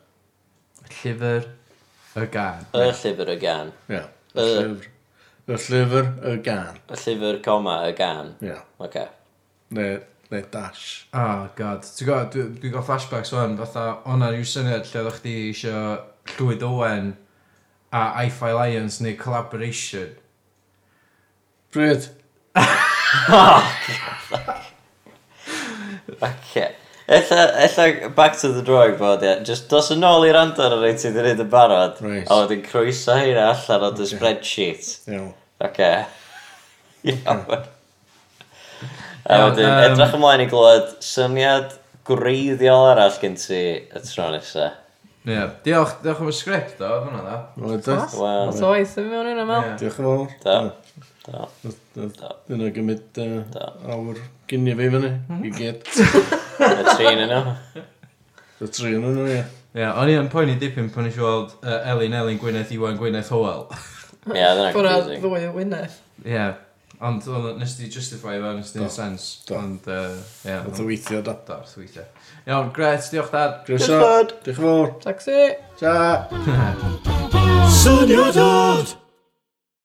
B: Llyfr y gan.
A: y llyfr y gan.
C: Ia, y
A: Yy.
C: llyfr. Y llyfr y gan.
A: Y llyfr coma y gan.
C: Ia,
A: Oce.
C: neu, neu dash.
B: Oh, god. Ti'n gwybod, dwi'n dwi gael flashbacks o'n, fatha, o'na rhyw syniad lle ddech chi eisiau Llywyd Owen a IFI Alliance neu collaboration.
C: Bryd.
A: Oce. Ella, ella back to the drawing board, ie. Just dos yn ôl i'r andar o'r reit i wedi yn barod.
C: Reit.
A: A wedyn croeso hynna allan o dy spreadsheet.
C: Iawn.
A: Oce. Iawn. A wedyn,
B: Iawn, yym,
A: edrych ymlaen i glywed syniad gwreiddiol arall gen ti y tro nesa.
B: Ie. Yeah. Diolch, diolch am y sgript o, hwnna da.
C: Oedd e?
A: Wel,
D: Os oes yn mewn yna mel.
B: Ie.
C: Diolch yn fawr.
A: da. Da.
C: Da.
A: Do.
C: Dyna gymryd yy,
A: Do.
C: awr gynnu fi fyny. I gyd.
A: Y trin yn nhw.
C: Y tri yn nhw, ia.
B: Ie, o'n i yn poeni dipyn pan eisiau weld uh, Elin, Elin, Gwyneth, Iwan, Gwyneth, Howell.
A: Ie, dyna
D: Gwna
A: confusing.
D: ddwy o wynaeth.
B: Ie. Yeah. Ond oedd- nes di justify fe, nes di'n
C: Do.
B: sens.
C: Do.
B: Ond, yy, ie.
C: Oedd o weithio da.
B: Da, wrth weithio. Iawn, gret, diolch dad.
C: Grisio. Diolch yn fawr.
D: Taxi!
C: Ta.
F: Syniadad